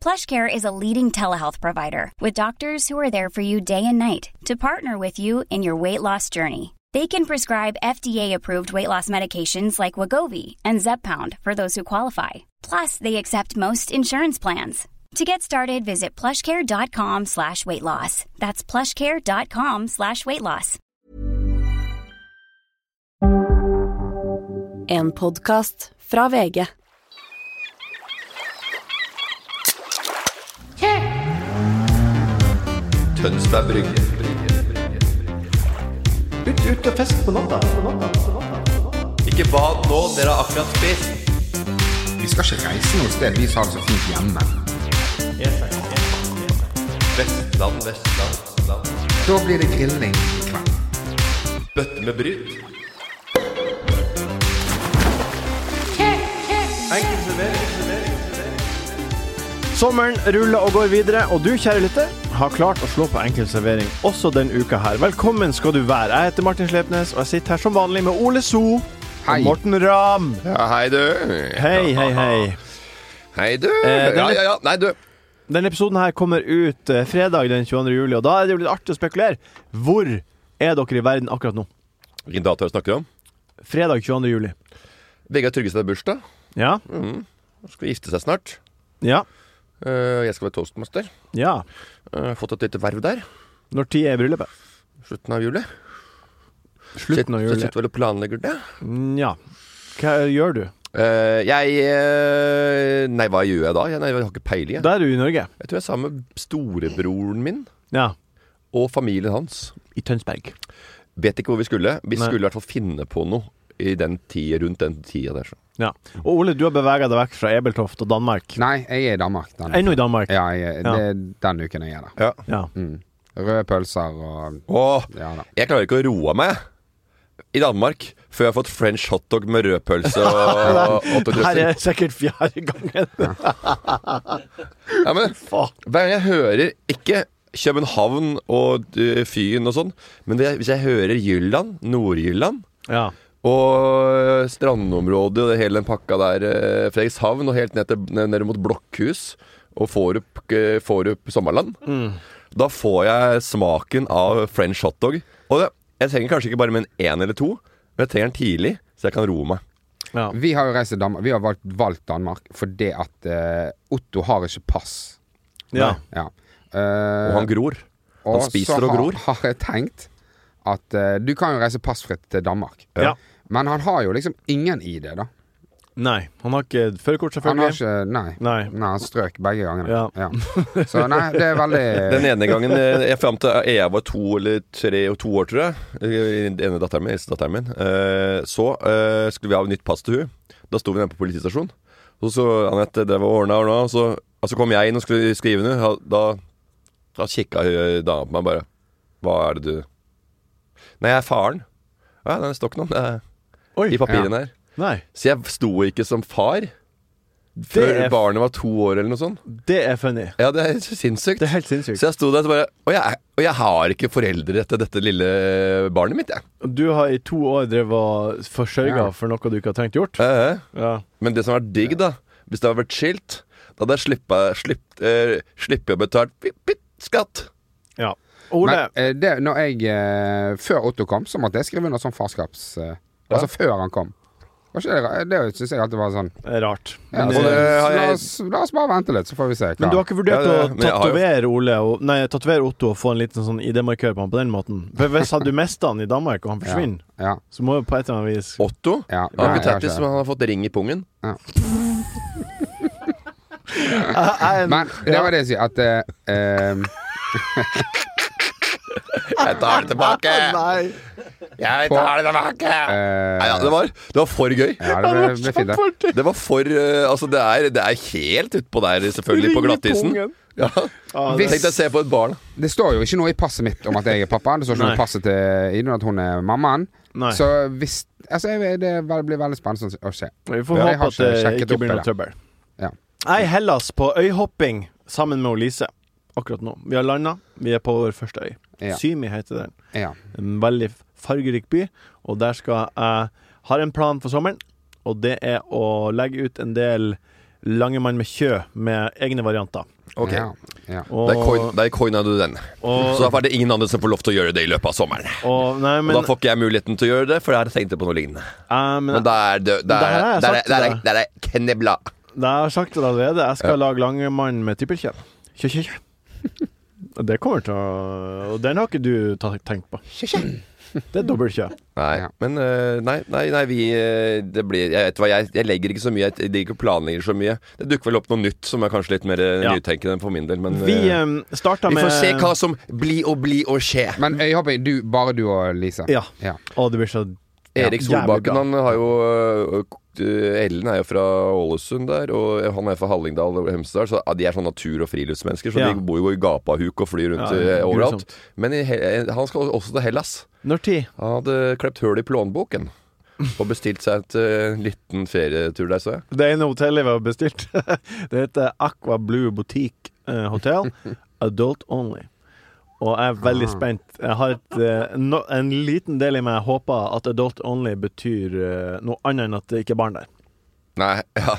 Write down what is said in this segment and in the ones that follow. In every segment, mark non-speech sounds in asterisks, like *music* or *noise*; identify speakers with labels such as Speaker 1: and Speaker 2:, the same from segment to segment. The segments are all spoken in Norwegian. Speaker 1: PlushCare is a leading telehealth provider with doctors who are there for you day and night to partner with you in your weight loss journey. They can prescribe FDA-approved weight loss medications like Wagovi and Zepbound for those who qualify. Plus, they accept most insurance plans. To get started, visit plushcare.com slash weight loss. That's plushcare.com slash weight loss.
Speaker 2: En podkast fra VG.
Speaker 3: Tønsberg Brygge. Ut, ut og fest på natta. Ikke bad nå, dere har akkurat spist.
Speaker 4: Vi skal ikke reise noe sted vi har det så fint hjemme.
Speaker 3: Vestland, Vestland, Vestland.
Speaker 4: Da blir det grilling i kveld.
Speaker 3: Bøtte med bryt. Enkel servering.
Speaker 5: Sommeren ruller og går videre, og du, kjære lytter, har klart å slå på enkel servering også denne uka her. Velkommen skal du være. Jeg heter Martin Slepnes, og jeg sitter her som vanlig med Ole So
Speaker 4: Hei.
Speaker 5: og Morten Ramm.
Speaker 3: Ja, hei, du.
Speaker 5: Hei, hei, hei.
Speaker 3: Hei, du.
Speaker 5: Eh, den
Speaker 3: ja,
Speaker 5: er-
Speaker 3: ja, ja. Nei, du.
Speaker 5: Denne episoden her kommer ut eh, fredag den 22. juli, og da er det jo litt artig å spekulere. Hvor er dere i verden akkurat nå?
Speaker 3: Hvilken dato er det snakker om?
Speaker 5: Fredag 22. juli.
Speaker 3: Vegard Tryggeseid har bursdag.
Speaker 5: Ja.
Speaker 3: Han Skal gifte seg snart.
Speaker 5: Ja.
Speaker 3: Eh, Jeg skal være toastmaster.
Speaker 5: Ja.
Speaker 3: Eh, Fått et lite verv der.
Speaker 5: Når tid er bryllupet?
Speaker 3: Slutten av juli.
Speaker 5: Slutten
Speaker 3: Så
Speaker 5: av
Speaker 3: jeg
Speaker 5: juli.
Speaker 3: sitter vel og planlegger det.
Speaker 5: Nja. Hva gjør du?
Speaker 3: Eh, jeg eh, Nei, hva gjør jeg da? Jeg, nei, jeg har ikke peiling. Jeg.
Speaker 5: Da er du i Norge.
Speaker 3: jeg tror jeg er sammen med storebroren min
Speaker 5: Ja.
Speaker 3: og familien hans.
Speaker 5: I Tønsberg.
Speaker 3: Vet ikke hvor vi skulle. Vi
Speaker 5: Nei.
Speaker 3: skulle i hvert fall finne på noe i den tida, rundt den tida der. Så.
Speaker 5: Ja. Og Ole, du har bevega deg vekk fra Ebeltoft og Danmark.
Speaker 4: Nei, jeg er i Danmark. Den.
Speaker 5: Ennå i Danmark.
Speaker 4: Ja, jeg,
Speaker 5: Ja.
Speaker 4: det er den uken jeg er der.
Speaker 3: Ja.
Speaker 5: Ja.
Speaker 4: Mm. Røde pølser og
Speaker 3: Åh,
Speaker 4: Ja da.
Speaker 3: jeg klarer ikke å roe meg jeg, i Danmark før jeg har fått french hotdog med rødpølse og
Speaker 5: Her
Speaker 3: åttedressing.
Speaker 5: er sikkert fjerde gangen.
Speaker 3: Ja, men hver gang jeg hører ikke København og eh, Fyn og sånn, men det, hvis jeg hører Jylland, Nord-Jylland
Speaker 5: *laughs* Ja.
Speaker 3: Og strandområdet og hele den pakka der. eh, Fredrikshavn og helt ned, til, ned, ned mot Blokkhus og Forup, eh, Forup Sommerland. Da får jeg smaken av french hotdog. Og det, jeg trenger kanskje ikke bare med en én eller to, men jeg trenger den tidlig, så jeg kan roe meg.
Speaker 5: Ja.
Speaker 4: Vi har jo reist til Danmark. Vi har valgt, valgt Danmark fordi at eh, Otto har ikke pass.
Speaker 5: ja.
Speaker 4: Ja. Eh,
Speaker 3: Og han gror. han spiser og gror.
Speaker 4: Så har, har jeg tenkt at eh, du kan jo reise passfritt til Danmark.
Speaker 5: Ja.
Speaker 4: Men han har jo liksom ingen ID, da.
Speaker 5: Nei, han har ikke førerkort,
Speaker 4: Han har
Speaker 5: selvfølgelig.
Speaker 4: ikke Nei.
Speaker 5: Nei.
Speaker 4: Nei, han strøk begge gangene.
Speaker 5: Ja.
Speaker 4: Ja. Så nei, det er veldig
Speaker 3: *laughs* Den ene gangen eh, jeg fram til eh, jeg var to eller tre og to år, tror jeg, eh, den ene datteren min, eldste datteren min, eh, så eh, skulle vi ha nytt pass til hun Da sto vi nede på politistasjonen. Og så Anette, det var ordna, ordna. Og så altså kom jeg inn og skulle skrive ned. Ha- Da, da kikka hun dama på meg bare. Hva er det du Nei, jeg er faren. Ja, nei, det står ikke noe om det
Speaker 5: Oi.
Speaker 3: i papirene her.
Speaker 5: Nei.
Speaker 3: Så jeg sto ikke som far
Speaker 5: Det
Speaker 3: før
Speaker 5: er,
Speaker 3: barnet var to år eller noe sånt.
Speaker 5: det er funny.
Speaker 3: Ja, det er sinnssykt.
Speaker 5: Det er helt sinnssykt.
Speaker 3: Så jeg sto der og bare Og jeg, og jeg har ikke foreldre til dette lille barnet mitt, jeg.
Speaker 5: Du har i to år drevet og forsørga
Speaker 4: Ja.
Speaker 5: for noe du ikke har trengt gjort.
Speaker 3: Eh, eh.
Speaker 5: Ja.
Speaker 3: Men det som var digg, da Hvis det hadde vært skilt, da hadde jeg slippet, slipp, eh, slippet å betale pip, pip, skatt.
Speaker 5: ja. Ole.
Speaker 4: Men, eh, det, når jeg eh, Før Otto kom, så måtte jeg skrive under sånn farskaps... Eh, Altså før han kom. Var ikke det, ra- det syns jeg alltid var sånn.
Speaker 5: er Rart.
Speaker 4: Ja,
Speaker 5: Men,
Speaker 3: altså,
Speaker 4: så,
Speaker 3: det-
Speaker 5: eh,
Speaker 3: har
Speaker 4: la,
Speaker 3: jeg-
Speaker 4: oss, la oss bare vente litt, så får vi se.
Speaker 5: men du har ikke vurdert
Speaker 3: Ja, det-
Speaker 5: å
Speaker 3: men jeg har jo-
Speaker 5: tatovere Ole og, Nei, tatovere Otto og få en liten sånn ID-markør på han på den måten? For Hvis han- du mister han i Danmark, og han forsvinner,
Speaker 4: Ja.
Speaker 5: så må jo på et eller annet vis
Speaker 3: Otto
Speaker 4: Ja,
Speaker 3: han har
Speaker 4: nei,
Speaker 3: ikke
Speaker 4: jeg har
Speaker 3: tattis,
Speaker 4: ikke det.
Speaker 3: men han har fått ring i pungen.
Speaker 4: Men det var det jeg sier, at eh, eh,
Speaker 3: Jeg tar det tilbake!
Speaker 5: *laughs* Nei.
Speaker 3: Jeg tar det tilbake!
Speaker 4: eh,
Speaker 3: Nei, ja, det, var, det var for gøy.
Speaker 4: Ja, det ble, ble fint, det.
Speaker 3: Det var for eh, Altså, det er, det er helt utpå der, selvfølgelig, på glattisen. Ja.
Speaker 5: Ja, Ah, det-
Speaker 3: Tenk deg å se på et barn.
Speaker 4: Det står jo ikke noe i passet mitt om at jeg er pappa. Det står ikke noe
Speaker 5: Nei.
Speaker 4: i passet til Idun at hun er mammaen.
Speaker 5: Nei.
Speaker 4: Så hvis Altså, jeg, det vel- blir veldig spennende å se.
Speaker 5: Vi får
Speaker 4: Ja, jeg har
Speaker 5: håpe at
Speaker 4: ikke
Speaker 5: det
Speaker 4: sjekket
Speaker 5: ikke
Speaker 4: opp
Speaker 5: blir
Speaker 4: i
Speaker 5: noe
Speaker 4: det.
Speaker 5: trøbbel.
Speaker 4: Ja.
Speaker 5: Jeg er i Hellas på øyhopping sammen med Lise akkurat nå. Vi har landa, vi er på vår første øy.
Speaker 4: Ja.
Speaker 5: Symi heter den.
Speaker 4: Ja.
Speaker 5: En veldig fargerik by, og der skal jeg har en plan for sommeren, og det er å legge ut en del Langemann med kjø med egne varianter.
Speaker 3: Ok.
Speaker 4: Ja. Ja.
Speaker 5: Og,
Speaker 3: Der coin- Der coina du den. Så
Speaker 5: og,
Speaker 3: derfor er det ingen andre som får lov til å gjøre det i løpet av sommeren.
Speaker 5: og, nei, men,
Speaker 3: og da får ikke jeg muligheten til å gjøre det, for jeg har tenkt på noe lignende.
Speaker 5: eh, men
Speaker 3: Men da er det Der
Speaker 5: Det her har
Speaker 3: er
Speaker 5: jeg
Speaker 3: der er-
Speaker 5: sagt til
Speaker 3: der er-
Speaker 5: deg.
Speaker 3: der er knebla.
Speaker 5: Det har jeg sagt det allerede. Jeg skal lage Langemann med typelkjøp. Kjø, kjø, kjø.
Speaker 3: *laughs*
Speaker 5: Og Det kommer til å Og den har ikke du ta- tenkt på. Det er dobbeltkjø.
Speaker 3: Nei,
Speaker 4: Ja.
Speaker 3: men eh, Nei, nei, nei vi eh, Det blir Jeg vet hva, jeg, jeg legger ikke så mye. Jeg digger ikke å planlegge så mye. Det dukker vel opp noe nytt som er kanskje litt mer eh,
Speaker 5: Ja.
Speaker 3: nytenkende for min del, men
Speaker 5: Vi
Speaker 3: eh,
Speaker 5: um, starta
Speaker 3: vi
Speaker 5: med
Speaker 3: får se hva som blir og blir og skje.
Speaker 4: Men øyhopping, du, bare du og Lise?
Speaker 5: Ja.
Speaker 4: Ja.
Speaker 5: Å, det blir så
Speaker 3: Erik
Speaker 5: jævlig bra.
Speaker 3: Solbakken, han har jo øh, øh, Ellen er jo fra Ålesund der, og han er fra Hallingdal og Hemsedal, så de er sånn natur- og friluftsmennesker, så
Speaker 5: Ja.
Speaker 3: de bor jo i gapahuk og flyr rundt
Speaker 5: Ja, det er
Speaker 3: øh, overalt.
Speaker 5: grusomt.
Speaker 3: Men i, He- eh, han skal også til Hellas.
Speaker 5: Når tid?
Speaker 3: Han hadde klept hull i
Speaker 5: *laughs*
Speaker 3: plånboken. Og bestilt seg et øh, liten ferietur der, så jeg.
Speaker 5: Det ene hotellet vi har bestilt, *laughs* det heter Aqua Blue Boutique eh,
Speaker 3: *laughs*
Speaker 5: Hotel. Adult only. Og jeg er veldig
Speaker 3: Ah.
Speaker 5: spent. Jeg har et, eh, no, en liten del i meg håper at adult only betyr eh, noe annet enn at det ikke er barn der.
Speaker 3: Nei, *laughs* ja.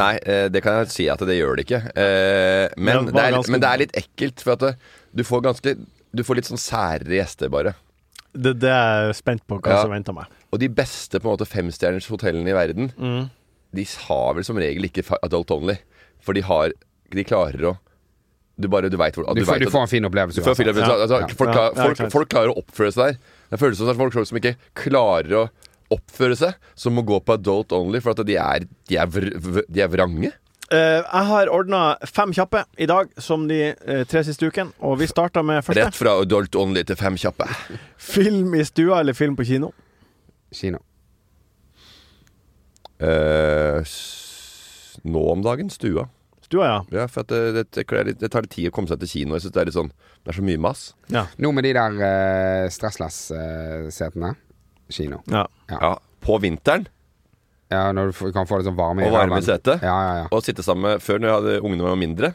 Speaker 3: Nei eh, det kan jeg si at det gjør det ikke. Eh, men,
Speaker 5: Det var
Speaker 3: det er,
Speaker 5: ganske-
Speaker 3: men det er litt ekkelt, for at det, du får ganske Du får litt sånn særere gjester, bare.
Speaker 5: Det, det er jeg spent på hva
Speaker 3: Ja.
Speaker 5: som venter meg.
Speaker 3: Og de beste på en måte femstjerners hotellene i verden,
Speaker 5: Mm.
Speaker 3: de har vel som regel ikke fa- adult only. For de har De klarer å Du bare Du veit hvor
Speaker 4: Du, får,
Speaker 3: vet
Speaker 4: du
Speaker 3: at-
Speaker 4: får en fin opplevelse.
Speaker 3: Du får
Speaker 4: uansett.
Speaker 3: Philip- altså,
Speaker 5: Ja.
Speaker 3: folk, klar,
Speaker 5: Ja, ja,
Speaker 3: folk,
Speaker 5: klart.
Speaker 3: folk klarer å oppføre seg der. Det føles som det er folk som ikke klarer å oppføre seg, som må gå på adult only for at de er, de er, vr, vr- de er vrange.
Speaker 5: Eh, jeg har ordna fem kjappe i dag, som de eh, tre siste ukene. Og vi starta
Speaker 3: Rett
Speaker 5: med første.
Speaker 3: fra adult only til fem kjappe.
Speaker 5: Film i stua eller film på kino?
Speaker 4: Kino.
Speaker 3: Eh, s- nå om dagen stua.
Speaker 5: Stua, ja.
Speaker 3: Ja, for at det, det, det, kler litt- det tar litt tid å komme seg til kino. Jeg synes det er litt sånn Det er så mye mas.
Speaker 4: Nå med de der eh, stressless-setene. Kino.
Speaker 5: ja.
Speaker 3: Ja, på vinteren
Speaker 4: Ja, når du får- kan få litt sånn varme
Speaker 3: Og varme i
Speaker 4: ræven.
Speaker 3: setet.
Speaker 4: Ja, ja, ja.
Speaker 3: og sitte sammen med Før når jeg hadde ungene var mindre,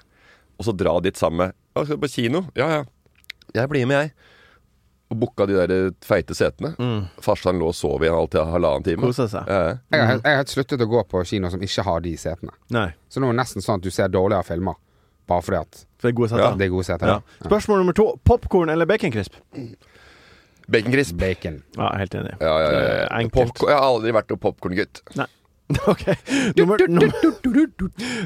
Speaker 3: og så dra dit sammen med «Ja, Skal du på kino? Ja, ja. Jeg blir med, jeg. Og booka de der eh, feite setene. Farsan lå og sov i en halv til halvannen time.
Speaker 5: Kosa Mm. seg.
Speaker 3: Ja, ja.
Speaker 4: Jeg har, helt- jeg har helt sluttet å gå på kino som ikke har de setene.
Speaker 5: Nei.
Speaker 4: Så nå er det nesten sånn at du ser dårligere filmer bare fordi at
Speaker 5: For det er gode setter.
Speaker 4: det er gode seter.
Speaker 5: Ja. Spørsmål nummer to. Popkorn eller baconcrisp?
Speaker 3: Baconcrisp.
Speaker 4: Bacon.
Speaker 5: Ja, helt enig.
Speaker 3: Ja, ja, ja, ja.
Speaker 5: Det er Eh, enkelt.
Speaker 3: Popcorn- Jeg har aldri vært noen popkorngutt.
Speaker 5: *laughs* Ok. Nummer, nummer,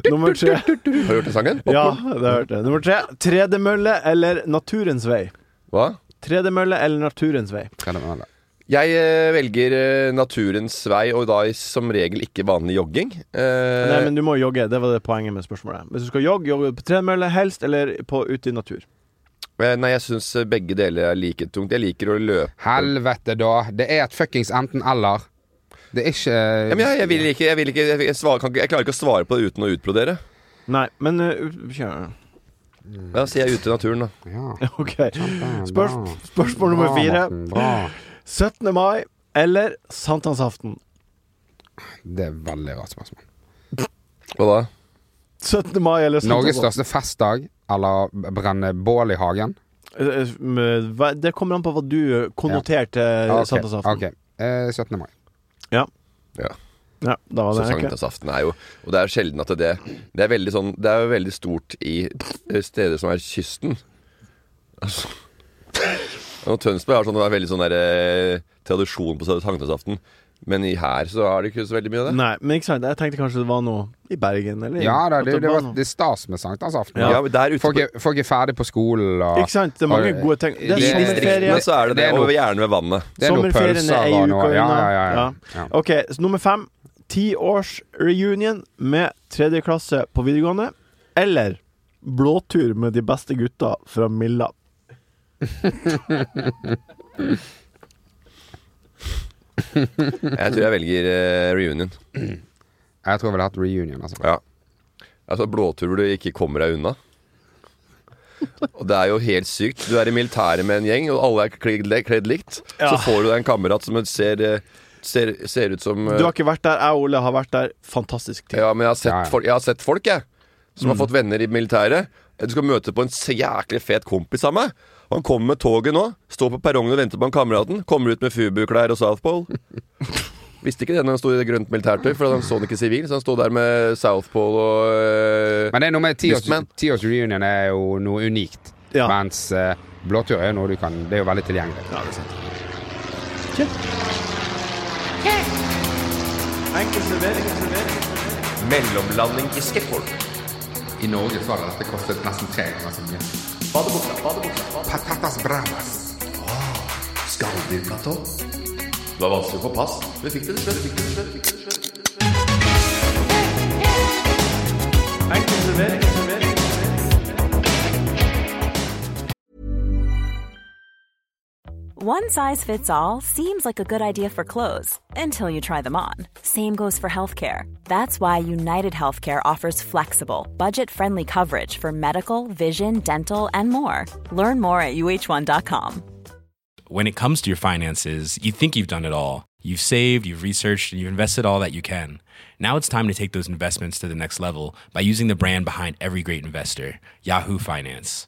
Speaker 5: nummer tre.
Speaker 3: Har du hørt den sangen?
Speaker 5: Ja,
Speaker 3: Popcorn?
Speaker 5: det hørte jeg. Nummer tre. Tredemølle eller Naturens vei?
Speaker 3: Hva?
Speaker 5: Tredemølle eller Naturens vei?
Speaker 4: Hva er det med det?
Speaker 3: Jeg eh, velger eh, naturens vei, og da i- som regel ikke vanlig jogging. Eh,
Speaker 5: Nei, men du må jogge. Det var det poenget med spørsmålet. Hvis du skal jogge, jogge på tredemølle helst, eller på ute i natur.
Speaker 3: eh, nei, jeg syns begge deler er like tungt. Jeg liker å løpe.
Speaker 4: Helvete, da! Det er et fuckings enten-eller. Det er ikke
Speaker 3: Ja, men jeg, jeg vil ikke, jeg, vil ikke, jeg, svarer, kan, ikke- jeg klarer ikke å svare på det uten å utbrodere.
Speaker 5: Nei, men uh, ut- kjør.
Speaker 3: Da sier jeg ute i naturen, da.
Speaker 4: Ja.
Speaker 5: *laughs* OK.
Speaker 4: Bra,
Speaker 5: Spørs,
Speaker 4: bra.
Speaker 5: spørsmål nummer
Speaker 4: Bra,
Speaker 5: fire.
Speaker 4: Morten, Bra.
Speaker 5: 17. mai eller sankthansaften?
Speaker 4: Det er et veldig rart spørsmål.
Speaker 3: Hva da?
Speaker 5: 17. mai eller
Speaker 4: Norges
Speaker 5: sankthansaften?
Speaker 4: største festdag eller brenne bål i hagen?
Speaker 5: Eh, eh, med- hva- Det kommer an på hva du eh, konnoterte
Speaker 4: Ah, Ok,
Speaker 5: sankthansaften.
Speaker 4: ok. Eh, 17. mai.
Speaker 3: Ja.
Speaker 5: Ja, da var
Speaker 3: Så
Speaker 5: det ok.
Speaker 3: sankthansaften er jo Og det er sjelden at det Det er veldig sånn Det er jo veldig stort i eh, steder som er kysten. Altså *laughs* og Tønsberg har sånn, det er veldig sånn der, eh, tradisjon på sankthansaften. Men i her så har det ikke så veldig mye av det.
Speaker 5: Nei, men ikke sant. Jeg tenkte kanskje det var noe i Bergen, eller?
Speaker 4: Ja da,
Speaker 5: At
Speaker 4: det, det,
Speaker 5: var
Speaker 4: var,
Speaker 5: noe.
Speaker 4: det er stas med sankthansaften.
Speaker 3: Ja, men der ute
Speaker 4: Folk,
Speaker 3: på,
Speaker 4: er- folk er ferdig på skolen og
Speaker 5: Ikke sant? Det er mange
Speaker 4: og-
Speaker 5: gode ting. Det er
Speaker 4: i
Speaker 5: sommerferie.
Speaker 3: distriktene så er det det,
Speaker 4: Det er noe-
Speaker 3: og gjerne ved vannet.
Speaker 4: Det er noen
Speaker 5: Sommerferien
Speaker 4: pølser
Speaker 5: er ei
Speaker 4: og noe
Speaker 5: uke
Speaker 4: ja,
Speaker 5: unna.
Speaker 4: ja, ja, ja. ja.
Speaker 5: Ok, så nummer fem. Tiårs-reunion med tredje klasse på videregående. Eller blåtur med de beste gutta fra Milla.
Speaker 3: Jeg tror jeg velger eh, reunion.
Speaker 4: Jeg tror jeg ville hatt reunion, altså.
Speaker 3: Ja. Altså Blåtur hvor du ikke kommer deg unna. Og det er jo helt sykt. Du er i militæret med en gjeng, og alle er kledd, kledd likt.
Speaker 5: Ja.
Speaker 3: Så får du deg en kamerat som ser, eh, ser, ser ut som eh,
Speaker 5: Du har ikke vært der. Jeg og Ole har vært der. Fantastisk tid.
Speaker 3: Ja, men jeg har sett,
Speaker 4: Ja, ja.
Speaker 3: Folk, jeg, har sett folk, jeg som
Speaker 5: Mm.
Speaker 3: har fått venner i militæret. Eh, Du skal møte på en så jæklig fet kompis av meg. Han kommer med toget nå, står på perrongen og venter på han kameraten. Kommer ut med Fubu-klær og Southpole. Visste ikke det når han sto i det grønt militærtøy, for han så han ikke sivil. Så han sto der med Southpole og øh,
Speaker 4: Men det er noe med
Speaker 3: Lystmann.
Speaker 4: tiårsreunion er jo noe unikt.
Speaker 5: Ja.
Speaker 4: Mens eh, blåtur er jo noe du kan Det er jo veldig tilgjengelig.
Speaker 5: Ja, det er sant.
Speaker 3: Mellomlanding i skateboard.
Speaker 6: I Norge så hadde dette kostet nesten tre ganger så mye. Patatas bravas.
Speaker 3: Skalldyrblatå. Det var vanskelig å få pass. Vi fikk det dessverre. Fikk det dessverre. Fikk det dessverre.
Speaker 7: One size fits all seems like a good idea for clothes until you try them on. Same goes for healthcare. That's why United Healthcare offers flexible, budget friendly coverage for medical, vision, dental, and more. Learn more at uh1.com.
Speaker 8: When it comes to your finances, you think you've done it all. You've saved, you've researched, and you've invested all that you can. Now it's time to take those investments to the next level by using the brand behind every great investor, Yahoo Finance.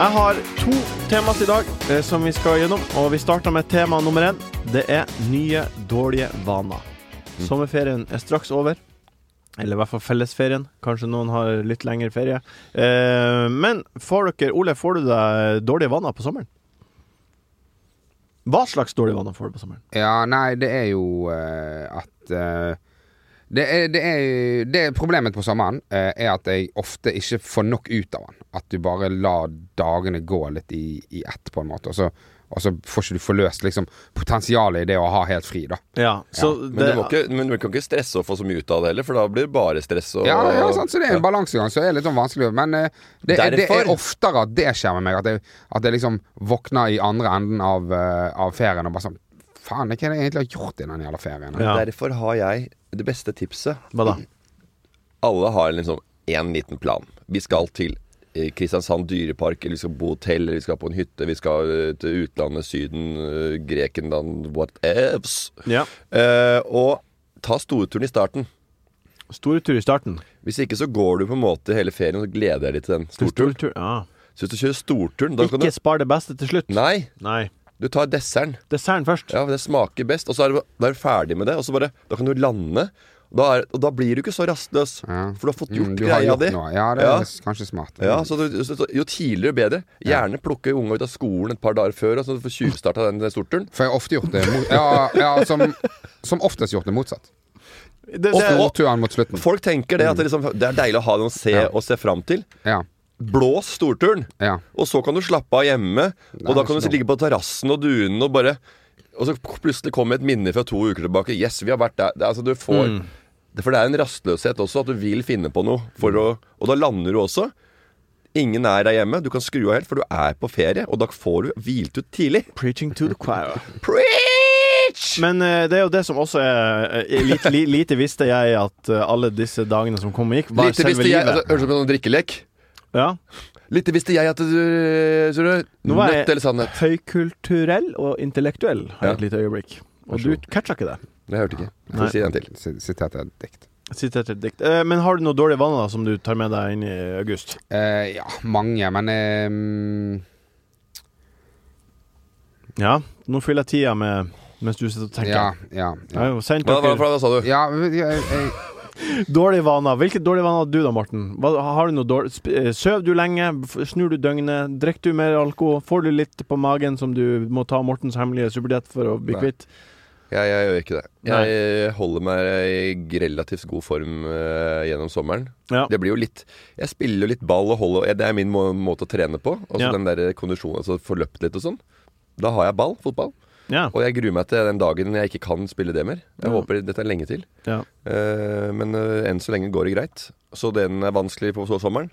Speaker 5: Jeg har to tema til i dag eh, som vi skal gjennom, og vi starter med tema nummer én. Det er nye dårlige vaner. Mm. Sommerferien er straks over. Eller i hvert fall fellesferien. Kanskje noen har litt lengre ferie. Eh, men får dere, Ole, får du deg dårlige vaner på sommeren? Hva slags dårlige vaner får du på sommeren?
Speaker 4: Ja, nei, det er jo eh, at eh, det, er, det, er, det er problemet på sommeren, eh, er at jeg ofte ikke får nok ut av den. At du bare lar dagene gå litt i, i ett, på en måte. Og så, og så får ikke du forløst liksom, potensialet i det å ha helt fri, da.
Speaker 5: Ja, så
Speaker 3: Men
Speaker 5: det,
Speaker 3: du, må ikke, men du kan ikke stresse og få så mye ut av det heller, for da blir det bare stress. Og,
Speaker 4: Ja, ja sant, så det er en balansegang, så det er litt sånn vanskelig. Men eh, det, er- det er
Speaker 3: Derfor-
Speaker 4: oftere at det skjer med meg, at jeg, at jeg liksom våkner i andre enden av, eh, av ferien og bare sånn Faen, hva er det jeg egentlig har gjort i den jævla ferien?
Speaker 5: Ja.
Speaker 3: Derfor har jeg det beste tipset.
Speaker 5: hva da?
Speaker 3: Alle har liksom én liten plan. Vi skal til eh, Kristiansand dyrepark, eller vi skal på hotell, eller vi skal på en hytte, vi skal eh, til utlandet, Syden, eh, Grekenland, whatevs.
Speaker 5: Ja.
Speaker 3: Eh, og ta storturen i starten.
Speaker 5: Store tur i starten.
Speaker 3: Hvis ikke så går du på en måte hele ferien og så gleder jeg deg til den storturen.
Speaker 5: Stortur, ja.
Speaker 3: Så hvis du kjører storturen, da kan du
Speaker 5: Ikke spar det beste til slutt.
Speaker 3: Nei,
Speaker 5: Nei.
Speaker 3: du tar desserten.
Speaker 5: Desserten først.
Speaker 3: Ja, for det smaker best. Og så er du, da er du ferdig med det, og så bare Da kan du lande. Og da, er, og da blir du ikke så rastløs,
Speaker 4: Ja.
Speaker 3: for du har fått gjort
Speaker 4: Mm, du har
Speaker 3: greia
Speaker 4: gjort
Speaker 3: di.
Speaker 4: noe. Ja, det er
Speaker 3: Ja.
Speaker 4: kanskje smart.
Speaker 3: Ja, så du, så, så, Jo tidligere, jo bedre. Gjerne plukke unga ut av skolen et par dager før, og så du får tjuvstarta den, den storturen.
Speaker 4: For jeg har ofte gjort det mot, ja, ja, som, som oftest gjort det motsatt.
Speaker 5: Det, det,
Speaker 4: Ofte turen Mm. mot slutten.
Speaker 3: Folk tenker det, at det, liksom, det er deilig å ha noe å se, å se fram til.
Speaker 4: Ja,
Speaker 3: Blås storturen,
Speaker 4: ja.
Speaker 3: og så kan du slappe av hjemme.
Speaker 4: Nei,
Speaker 3: Og da kan
Speaker 4: ikke
Speaker 3: du
Speaker 4: noe.
Speaker 3: ligge på terrassen og dunen og bare Og så plutselig kommer et minne fra to uker tilbake. Yes, vi har vært der. Det, er altså, du får
Speaker 5: Mm.
Speaker 3: det, For det er en rastløshet også, at du vil finne på noe. For å, og da lander du også. Ingen er der hjemme. Du kan skru av helt, for du er på ferie, og da får du hvilt ut tidlig.
Speaker 5: Preaching to the choir.
Speaker 3: Preach!
Speaker 5: Men eh, det er jo det som også er eh, lite, li, Lite visste jeg at eh, alle disse dagene som kom og gikk, var
Speaker 3: Lite
Speaker 5: selve
Speaker 3: visste jeg
Speaker 5: livet.
Speaker 3: altså, Høres ut som en sånn drikkelek.
Speaker 5: ja.
Speaker 3: Lite visste jeg at du så du,
Speaker 5: Nå var jeg-
Speaker 3: Nødt eller sannhet?
Speaker 5: Høykulturell og intellektuell har
Speaker 3: Ja.
Speaker 5: jeg et lite øyeblikk. Og du catcha ikke det.
Speaker 3: Det hørte jeg ikke. Får
Speaker 5: Nei.
Speaker 3: si en til.
Speaker 4: Si- Siterte et dikt.
Speaker 5: Sitert et dikt. Eh, men har du noen dårlige vaner som du tar med deg inn i august?
Speaker 4: Eh, ja, mange, men eh,
Speaker 5: Ja, nå fyller jeg tida med mens du sitter og tenker.
Speaker 4: ja, ja, ja.
Speaker 5: Jeg har jo sendt
Speaker 3: Hva, hva,
Speaker 5: dere
Speaker 3: hva sa du?
Speaker 4: ja jeg, jeg, jeg,
Speaker 5: dårlige vaner. Hvilke dårlige vaner hadde du da, Morten? Hva, har du noe dårlig sp- eh, Søv du lenge? F- Snur du døgnet? Drikker du mer alkohol? Får du litt på magen som du må ta Mortens hemmelige superdiett for å bli
Speaker 3: Nei.
Speaker 5: kvitt?
Speaker 3: Jeg, jeg gjør ikke det. Jeg holder meg i relativt god form eh, gjennom sommeren.
Speaker 5: Ja.
Speaker 3: Det blir jo litt Jeg spiller jo litt ball og holder og- Det er min må måte å trene på. Og så
Speaker 5: Ja.
Speaker 3: den der kondisjonen, altså få løpt litt og sånn. Da har jeg ball, fotball.
Speaker 5: Ja.
Speaker 3: Og jeg gruer meg til den dagen jeg ikke kan spille det mer. Jeg
Speaker 5: Ja.
Speaker 3: håper dette er lenge til.
Speaker 5: ja.
Speaker 3: Eh, men eh, enn så lenge går det greit. Så den er vanskelig på så- sommeren.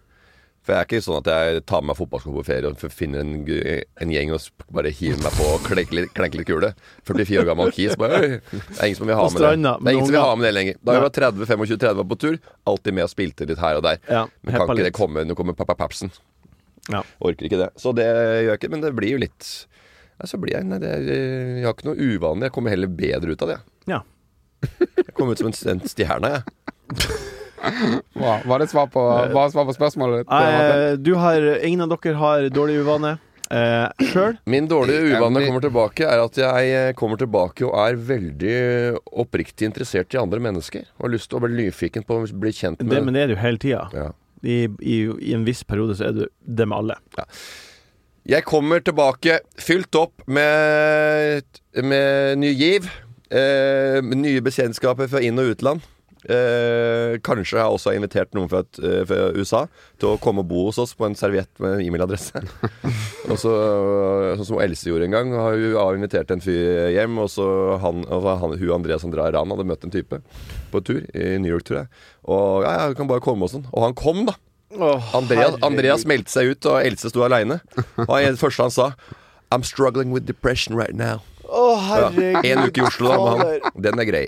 Speaker 3: For jeg er ikke sånn at jeg tar med meg fotballsko på ferie og f- finner en, gu- en gjeng og sp- bare hiver meg på og klenker litt, klenker litt kule. 44 år gammel kis. Bare, «Øy, det er ingen som vil ha
Speaker 5: På
Speaker 3: med det.
Speaker 5: stranda,
Speaker 3: Det er ingen som
Speaker 5: med
Speaker 3: vil ha
Speaker 5: unger.
Speaker 3: med det lenger. Da jeg var 30-25-30 var på tur, alltid med og spilte litt her og der.
Speaker 5: Ja,
Speaker 3: men kan
Speaker 5: heppa
Speaker 3: ikke
Speaker 5: litt.
Speaker 3: det komme Nå kommer pappa Papsen.
Speaker 5: Ja.
Speaker 3: Orker ikke det. Så det gjør jeg ikke, men det blir jo litt Nei, så blir jeg Nei, det er, eh, jeg har ikke noe uvanlig. Jeg kommer heller bedre ut av det.
Speaker 5: ja.
Speaker 3: Jeg kommer ut som en, en stjerne, jeg.
Speaker 4: Hva, var det svar på, var det svar på spørsmålet ditt? Marte?
Speaker 5: Eh, du har, ingen av dere har dårlig uvane eh, sjøl.
Speaker 3: Min dårlige
Speaker 4: Ja,
Speaker 3: uvane
Speaker 4: men-
Speaker 3: kommer tilbake er at jeg eh, kommer tilbake og er veldig oppriktig interessert i andre mennesker. Og har lyst til å bli nyfiken på å bli kjent
Speaker 5: Det, men
Speaker 3: med
Speaker 5: det er du hele tida.
Speaker 3: ja.
Speaker 5: I, i, I en viss periode så er du det med alle.
Speaker 3: Jeg kommer tilbake fylt opp med, med ny giv. Eh, med nye bekjentskaper fra inn- og utland. Eh, kanskje jeg også har invitert noen fra, et- eh, fra USA til å komme og bo hos oss på en serviett med e-mailadresse. og så, eh, sånn som Else gjorde en gang. Har hun har invitert en fyr hjem, og så han, og så han, hun Andrea som drar Ran, hadde møtt en type på tur i New York, tror jeg. Og ja, ja, hun kan bare komme og sånn. Og han kom, da. Andreas, Andreas meldte seg ut, og Else sto aleine. Og han- det første han sa I'm struggling with depression right now.
Speaker 5: Å,
Speaker 3: Ja, en uke i Oslo, da. Med han. Den er grei.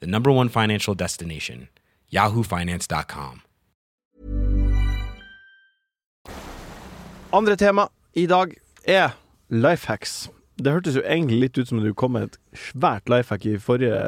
Speaker 8: the number one financial destination, yahoofinance.com.
Speaker 5: Andre tema i dag er life hacks. Det hørtes jo egentlig litt ut som du kom med et svært life hack i forrige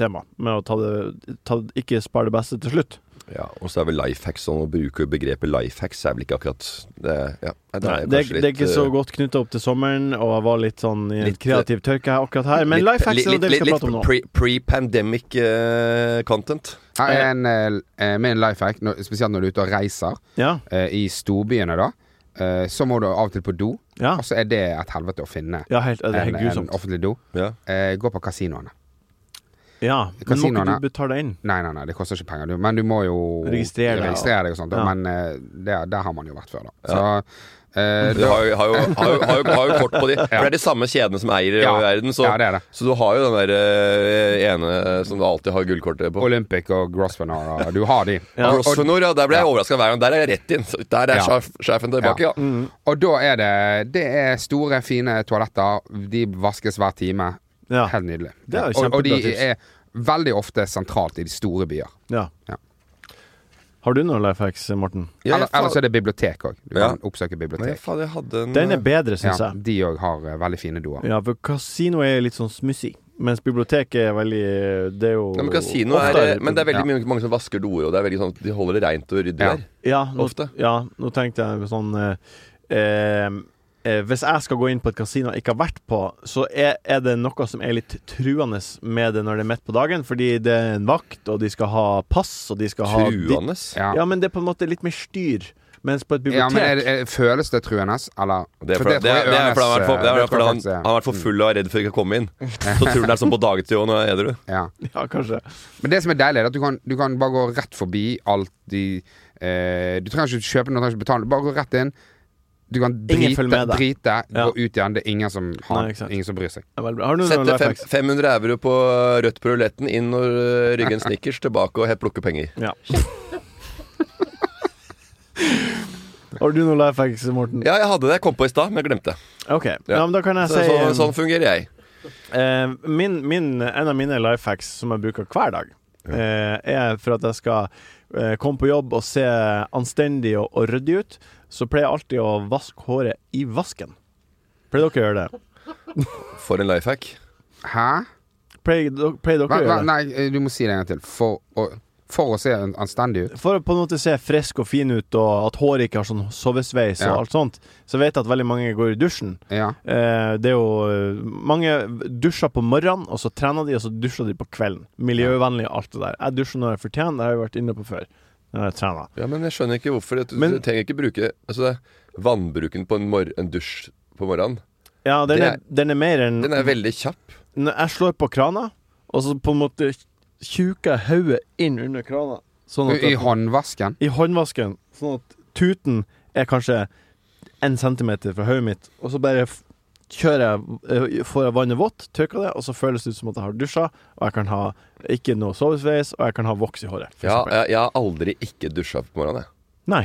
Speaker 5: tema, med å ta det, ta, ikke spare det beste til slutt.
Speaker 3: Ja, og så er vel life hacks sånn å bruke begrepet life hacks er vel ikke akkurat det, ja, det er
Speaker 5: Nei, det,
Speaker 3: kanskje
Speaker 5: er, det er ikke
Speaker 3: litt,
Speaker 5: så
Speaker 3: eh,
Speaker 5: godt knytta opp til sommeren, og jeg var litt sånn i en
Speaker 4: eh,
Speaker 3: Litt,
Speaker 5: kreativ tørke her akkurat her. Men
Speaker 3: litt-
Speaker 5: life hacks er jo det vi skal
Speaker 3: litt
Speaker 5: prate om nå.
Speaker 3: pre- Pre-pandemic eh, content.
Speaker 4: Her er en, eh, eh, med en life hack, når- spesielt når du er ute og reiser
Speaker 5: Ja,
Speaker 4: eh, i storbyene, da. eh, Så må du av og til på do,
Speaker 5: ja.
Speaker 4: og så er det et helvete å finne
Speaker 5: ja helt, det er
Speaker 4: en,
Speaker 5: helt
Speaker 4: en
Speaker 5: grusomt.
Speaker 4: offentlig do.
Speaker 3: Ja.
Speaker 4: Eh, Gå på kasinoene.
Speaker 5: Ja, men må ikke
Speaker 4: kasinoene-
Speaker 5: du betale inn?
Speaker 4: Nei, nei, nei, det koster ikke penger, du. Men du må jo
Speaker 5: Registrere deg, ja.
Speaker 4: registrere deg og sånt. da,
Speaker 5: Ja.
Speaker 4: Men eh, der, der har man jo vært før, da. Så eh,
Speaker 3: Du har, jo- har, jo, har, jo, har, jo, har jo kort på de. For det er de samme kjedene som eier
Speaker 4: Ja.
Speaker 3: i verden. Så,
Speaker 4: Ja, det er det.
Speaker 3: så du har jo den der eh, ene som du alltid har gullkortet på.
Speaker 4: Olympic og Grosvenor, og du har de.
Speaker 3: Ja.
Speaker 4: Og, og,
Speaker 3: Grosvenor, ja. Der ble jeg overraska hver gang. Der er jeg rett inn. Så Der er
Speaker 4: Ja.
Speaker 3: sjef, sjefen tilbake, ja.
Speaker 5: Mm.
Speaker 4: Ja. og da er det Det er store, fine toaletter. De vaskes hver time.
Speaker 5: Ja.
Speaker 4: Helt nydelig.
Speaker 5: Det er jo
Speaker 4: og, og
Speaker 5: kjempebra
Speaker 4: de
Speaker 5: tips.
Speaker 4: er veldig ofte sentralt i de store byer.
Speaker 5: Ja.
Speaker 4: Ja.
Speaker 5: Har du noen life hacks, Morten?
Speaker 3: Ja,
Speaker 4: Eller,
Speaker 3: faen-
Speaker 4: ellers er det bibliotek òg. Du
Speaker 3: Ja.
Speaker 4: kan oppsøke
Speaker 3: Nei,
Speaker 4: bibliotek.
Speaker 3: faen, jeg hadde en eh,
Speaker 5: Den er bedre, syns
Speaker 4: Ja,
Speaker 5: jeg.
Speaker 4: de òg har eh, veldig fine doer.
Speaker 5: Ja, for kasino er litt sånn smussig, mens biblioteket er veldig Det er jo
Speaker 3: Nei, men kasino er, eh,
Speaker 5: ofte
Speaker 3: men det er veldig
Speaker 4: Ja.
Speaker 3: mye- mange som vasker doer, og det er veldig sånn, de holder det rent og ryddig
Speaker 4: Ja.
Speaker 3: der.
Speaker 5: ja, nå,
Speaker 3: ofte.
Speaker 5: Ja, nå tenkte jeg sånn eh, eh, eh, Hvis jeg skal gå inn på et kasino jeg ikke har vært på, så er, er det noe som er litt truende med det når det er midt på dagen, fordi det er en vakt, og de skal ha pass, og de skal ha ditt-
Speaker 3: Truende.
Speaker 4: Ja.
Speaker 5: Ja, men det er på en måte litt mer styr. Mens på et bibliotek
Speaker 4: Ja, men er, er, Føles det truende, eller
Speaker 3: Det er
Speaker 4: For
Speaker 3: fordi det er-
Speaker 4: tror jeg
Speaker 3: det er fordi
Speaker 4: Ørnes,
Speaker 3: han har vært for-
Speaker 4: eh,
Speaker 3: det er
Speaker 4: det
Speaker 3: fordi
Speaker 4: tror jeg
Speaker 3: han-
Speaker 4: faktisk er.
Speaker 3: han har vært for full og er redd for ikke å komme inn. Så tror han det er sånn på dagtid òg, når jeg er edru.
Speaker 4: eh, Ja.
Speaker 5: *laughs* Ja, kanskje.
Speaker 4: Men det som er deilig, er at du kan, du kan bare gå rett forbi alt de eh, Du trenger ikke kjøpe noe, du trenger ikke betale. Bare gå rett inn. Du kan
Speaker 5: Ingen
Speaker 4: drite,
Speaker 5: følger med deg.
Speaker 4: drite
Speaker 5: Ja.
Speaker 4: gå ut igjen. Det er ingen som, har,
Speaker 5: Nei, ikke sant.
Speaker 4: ingen som bryr seg.
Speaker 5: Ja, vel bra. Har du noen
Speaker 3: Sette
Speaker 5: life
Speaker 3: fem,
Speaker 5: hacks?
Speaker 3: 500 euro på rødt på ruletten, inn og øh, rygge en snickers, tilbake og he- plukke penger.
Speaker 5: Ja. *laughs* Har du noen life hacks, Morten?
Speaker 3: Ja, jeg hadde det jeg kom på i stad, men jeg glemte det.
Speaker 5: OK. Ja, men da kan jeg
Speaker 3: Så,
Speaker 5: si
Speaker 3: sånn,
Speaker 5: eh,
Speaker 3: sånn fungerer jeg.
Speaker 5: Eh, min, min, en av mine life hacks som jeg bruker hver dag, eh, er for at jeg skal eh, komme på jobb og se anstendig og, og ryddig ut, så pleier jeg alltid å vaske håret i vasken. Pleier dere å gjøre det?
Speaker 3: For en life hack.
Speaker 4: Hæ?
Speaker 5: Pleier do- pleier dere
Speaker 4: Hva,
Speaker 5: å
Speaker 4: hva,
Speaker 5: gjøre det?
Speaker 4: nei, eh, du må si det en gang til. For å, for å se an- anstendig ut.
Speaker 5: For å på en måte se frisk og fin ut, og at håret ikke har sånn sovesveis
Speaker 4: Ja.
Speaker 5: og alt sånt, så vet jeg at veldig mange går i dusjen.
Speaker 4: Ja.
Speaker 5: Eh, det er jo eh, Mange dusjer på morgenen, og så trener de, og så dusjer de på kvelden. Miljøvennlig og alt det der. Jeg dusjer når jeg fortjener, det har jeg vært inne på før. Når jeg trener.
Speaker 3: Ja, men jeg skjønner ikke hvorfor. Du,
Speaker 5: Men-
Speaker 3: du trenger ikke bruke altså, det er vannbruken på en, mor en dusj på morgenen.
Speaker 5: Ja, den,
Speaker 3: Det
Speaker 5: er, den er mer enn
Speaker 3: Den er veldig kjapp.
Speaker 5: Når jeg slår på krana, og så på en måte tjuker jeg hodet inn under krana. Sånn at
Speaker 4: I håndvasken.
Speaker 5: I håndvasken. Sånn at tuten er kanskje en centimeter fra hodet mitt, og så bare f- kjører jeg eh, Får jeg vannet vått, tørker det, og så føles det ut som at jeg har dusja, og jeg kan ha ikke noe sovesveis, og jeg kan ha voks i håret. for
Speaker 3: Ja,
Speaker 5: eksempel.
Speaker 3: jeg, jeg har aldri ikke dusja på morgenen. Jeg.
Speaker 5: Nei.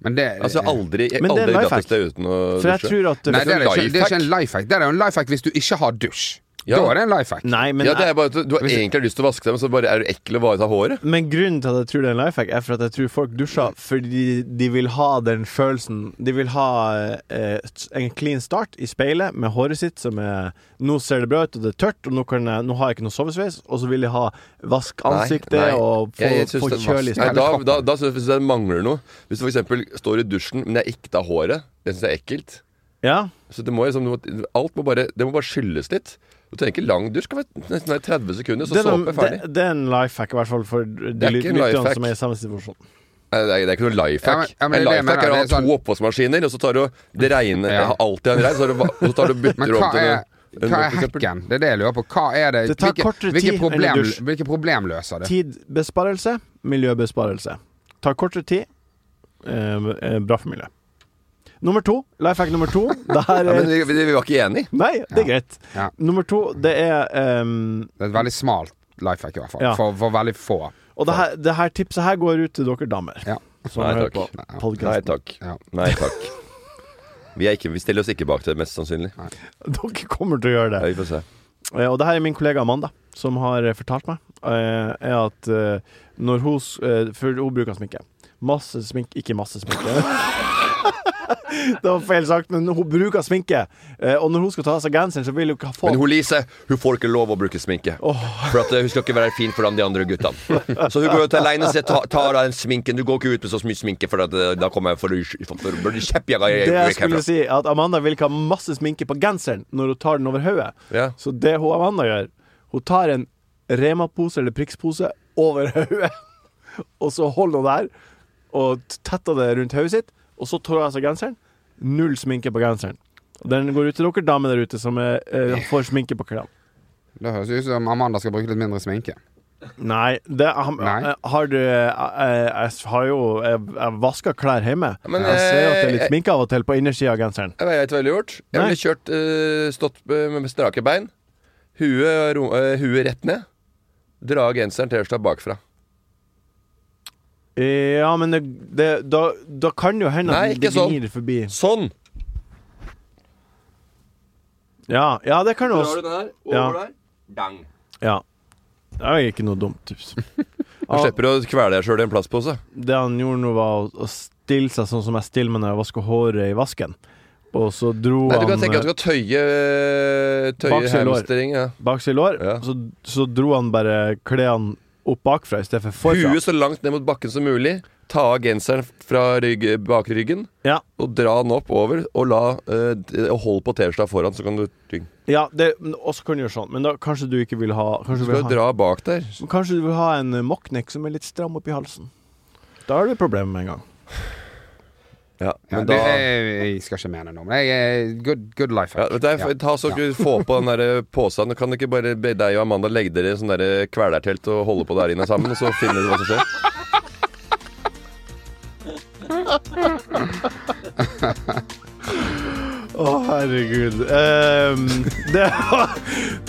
Speaker 4: Men det
Speaker 3: Altså, jeg har aldri, jeg,
Speaker 5: Eh, Men det er
Speaker 3: aldri
Speaker 5: en life
Speaker 3: dratt
Speaker 5: hack.
Speaker 3: et sted uten å
Speaker 5: For jeg
Speaker 3: dusje.
Speaker 5: tror at
Speaker 4: Nei, det er,
Speaker 3: en
Speaker 4: ikke, det er ikke
Speaker 3: lifehack.
Speaker 4: en life hack. Det er jo en life hack hvis du ikke har dusj.
Speaker 3: Ja.
Speaker 4: Da er det en life hack.
Speaker 5: Nei, men,
Speaker 3: ja, det er bare at du, du har egentlig lyst til å vaske deg, men så bare er du ekkel og bare tar håret.
Speaker 5: jeg- men grunnen til at jeg tror det er en life hack, er for at jeg tror folk dusjer
Speaker 3: Mm.
Speaker 5: fordi de vil ha den følelsen De vil ha eh, en clean start i speilet med håret sitt som er Nå ser det bra ut, og det er tørt, og nå, kan jeg, nå har jeg ikke noe sovesveis, og så vil de ha vask ansiktet
Speaker 3: Nei, nei.
Speaker 5: og få,
Speaker 3: Jeg- jeg synes
Speaker 5: få
Speaker 3: det-
Speaker 5: kjølig
Speaker 3: Nei,
Speaker 5: start.
Speaker 3: Da, da, da synes jeg det mangler noe. Hvis du f.eks. står i dusjen, men jeg ikke tar håret. Det syns jeg er ekkelt.
Speaker 5: Ja.
Speaker 3: Så det må liksom, du må- alt må bare, det må bare skylles litt. Du trenger ikke lang dusj. Det kan være nesten være 30 sekunder, så
Speaker 5: Det er,
Speaker 3: såpe
Speaker 5: noe-
Speaker 3: er ferdig.
Speaker 5: det, det er en life hack, i hvert fall for de
Speaker 3: er ikke en life
Speaker 5: lytterne
Speaker 3: hack.
Speaker 5: som er i samme situasjon.
Speaker 3: Nei, det, er, det er ikke noe life hack.
Speaker 4: Ja, men- ja, men
Speaker 3: en
Speaker 4: det er det jeg
Speaker 3: life hack er
Speaker 4: mener,
Speaker 3: å ha
Speaker 4: det er sånn-
Speaker 3: to oppvaskmaskiner, og så tar du det regner
Speaker 4: Ja.
Speaker 3: Jeg har alltid en regn, så tar du, va- og så tar du og
Speaker 4: Men
Speaker 3: bytter om
Speaker 4: hva
Speaker 3: til
Speaker 4: er,
Speaker 3: en-
Speaker 4: hva er
Speaker 3: for eksempel.
Speaker 4: hacken? Det er det jeg lurer på. Hva er det?
Speaker 5: Det tar kortere tid enn en
Speaker 4: problem,
Speaker 5: dusj.
Speaker 4: hvilke problem løser det?
Speaker 5: Tidbesparelse, miljøbesparelse. Tar kortere tid. Eh, eh, bra for miljøet. Nummer to. Life hack nummer to. Det
Speaker 3: *laughs*
Speaker 5: her
Speaker 3: Ja, men
Speaker 5: er
Speaker 3: vi, vi vi var ikke enige.
Speaker 5: Nei, det er greit.
Speaker 4: Ja.
Speaker 5: Nummer to, det er ehm,
Speaker 4: Det er et veldig smalt life hack, i hvert fall.
Speaker 5: Ja.
Speaker 4: For, for veldig få.
Speaker 5: Og det her, det her tipset her går ut til dere damer.
Speaker 4: Ja.
Speaker 5: Som
Speaker 3: Nei,
Speaker 5: hører
Speaker 3: takk.
Speaker 5: på
Speaker 3: Nei
Speaker 5: podcasten.
Speaker 3: takk.
Speaker 4: Ja.
Speaker 3: Nei takk. Vi, er ikke, vi stiller oss ikke bak det, mest sannsynlig.
Speaker 5: Dere kommer til å gjøre det.
Speaker 3: Ja, vi får se.
Speaker 5: Eh, Og det her er min kollega Amanda som har eh, fortalt meg, eh, er at eh, når hun s- eh, For hun bruker sminke. Masse sminke Ikke masse sminke. *laughs* det var feil sagt, men hun bruker sminke. Eh, og når hun skal ta av seg genseren, så vil hun ikke få
Speaker 3: Men hun Lise hun får ikke lov å bruke sminke. For at eh, hun skal ikke være fin foran de andre guttene. Så hun går ut alene og sier, ta, ta av den sminken. Du går ikke ut med så mye sminke, for at, eh, da kommer jeg for å bli kjeppjaga.
Speaker 5: Det jeg skulle si, er at Amanda vil ikke ha masse sminke på genseren når hun tar den over hodet.
Speaker 3: Ja.
Speaker 5: Så det hun Amanda gjør, hun tar en Rema-pose eller Prix-pose over *laughs* hodet, og så holder hun der og t- tetter det rundt hodet sitt, og så tar hun av seg genseren. Null sminke på genseren. Og Den går ut til dere damer der ute som er, eh, får sminke på klærne.
Speaker 4: Det høres ut som Amanda skal bruke litt mindre sminke.
Speaker 5: Nei, det han, eh,
Speaker 4: Nei.
Speaker 5: Har du jeg, jeg, jeg har jo Jeg, jeg vasker klær hjemme.
Speaker 3: Men,
Speaker 5: jeg ser jo at det er
Speaker 3: eh,
Speaker 5: litt sminke av og til på innersida av genseren.
Speaker 3: Jeg vet hva jeg ville gjort. Jeg
Speaker 5: Nei.
Speaker 3: ville kjørt eh, stått eh, med strake bein, huet, ro, eh, huet rett ned, dra genseren T-skjorta bakfra.
Speaker 5: Ja, men det, det, da, da kan jo hende
Speaker 3: Nei,
Speaker 5: at det
Speaker 3: ikke sånn.
Speaker 5: gnir forbi.
Speaker 3: Sånn!
Speaker 5: Ja, ja det kan jo også
Speaker 3: den her
Speaker 5: over Ja.
Speaker 3: der. Dang.
Speaker 5: ja. Det er jo ikke noe dumt tips.
Speaker 3: Du slipper å kvele deg sjøl i en plastpose.
Speaker 5: Det han gjorde nå, var å, å stille seg sånn som jeg stiller meg når jeg vasker håret i vasken. Og så dro
Speaker 3: Nei, du kan
Speaker 5: han
Speaker 3: tenke at du
Speaker 5: eh,
Speaker 3: skal tøye eh, Tøye
Speaker 5: Bakside lår.
Speaker 3: hamstring. Ja.
Speaker 5: bak seg lår,
Speaker 3: Ja.
Speaker 5: så, så dro han bare klærne opp bakfra i stedet for forfra.
Speaker 3: Huet så langt ned mot bakken som mulig. Ta av genseren fra rygg, bakryggen
Speaker 5: Ja,
Speaker 3: og dra den opp over. Og la eh, d- og hold på T-skjorta foran, så kan du tygge.
Speaker 5: ja det, og så kan du gjøre sånn, men da kanskje du ikke vil ha
Speaker 3: Du
Speaker 5: Kanskje du
Speaker 3: skal
Speaker 5: vil
Speaker 3: jo
Speaker 5: ha,
Speaker 3: dra bak der.
Speaker 5: kanskje du vil ha en eh, mockneck som er litt stram oppi halsen. Da har du problemer med en gang.
Speaker 3: Ja,
Speaker 4: Ja,
Speaker 3: men
Speaker 4: det,
Speaker 3: da
Speaker 4: jeg, jeg skal ikke mene noe, men jeg er good, good life
Speaker 3: Ja,
Speaker 4: hack.
Speaker 3: vet du, jeg,
Speaker 4: Ja.
Speaker 3: ta så, Få på den der posen. Kan du ikke bare be deg og Amanda legge dere i sånn der kvelertelt og holde på der inne sammen, og så finner dere hva som skjer?
Speaker 5: Å, herregud. Ehm, det, var,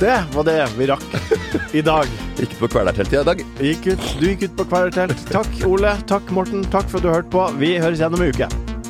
Speaker 5: det var det vi rakk i dag.
Speaker 3: Ikke på kvelerteltet i dag.
Speaker 5: Vi Gikk ut, du gikk ut på kvelertelt. Takk, Ole. Takk, Morten. Takk for at du hørte på. Vi høres igjen om en uke.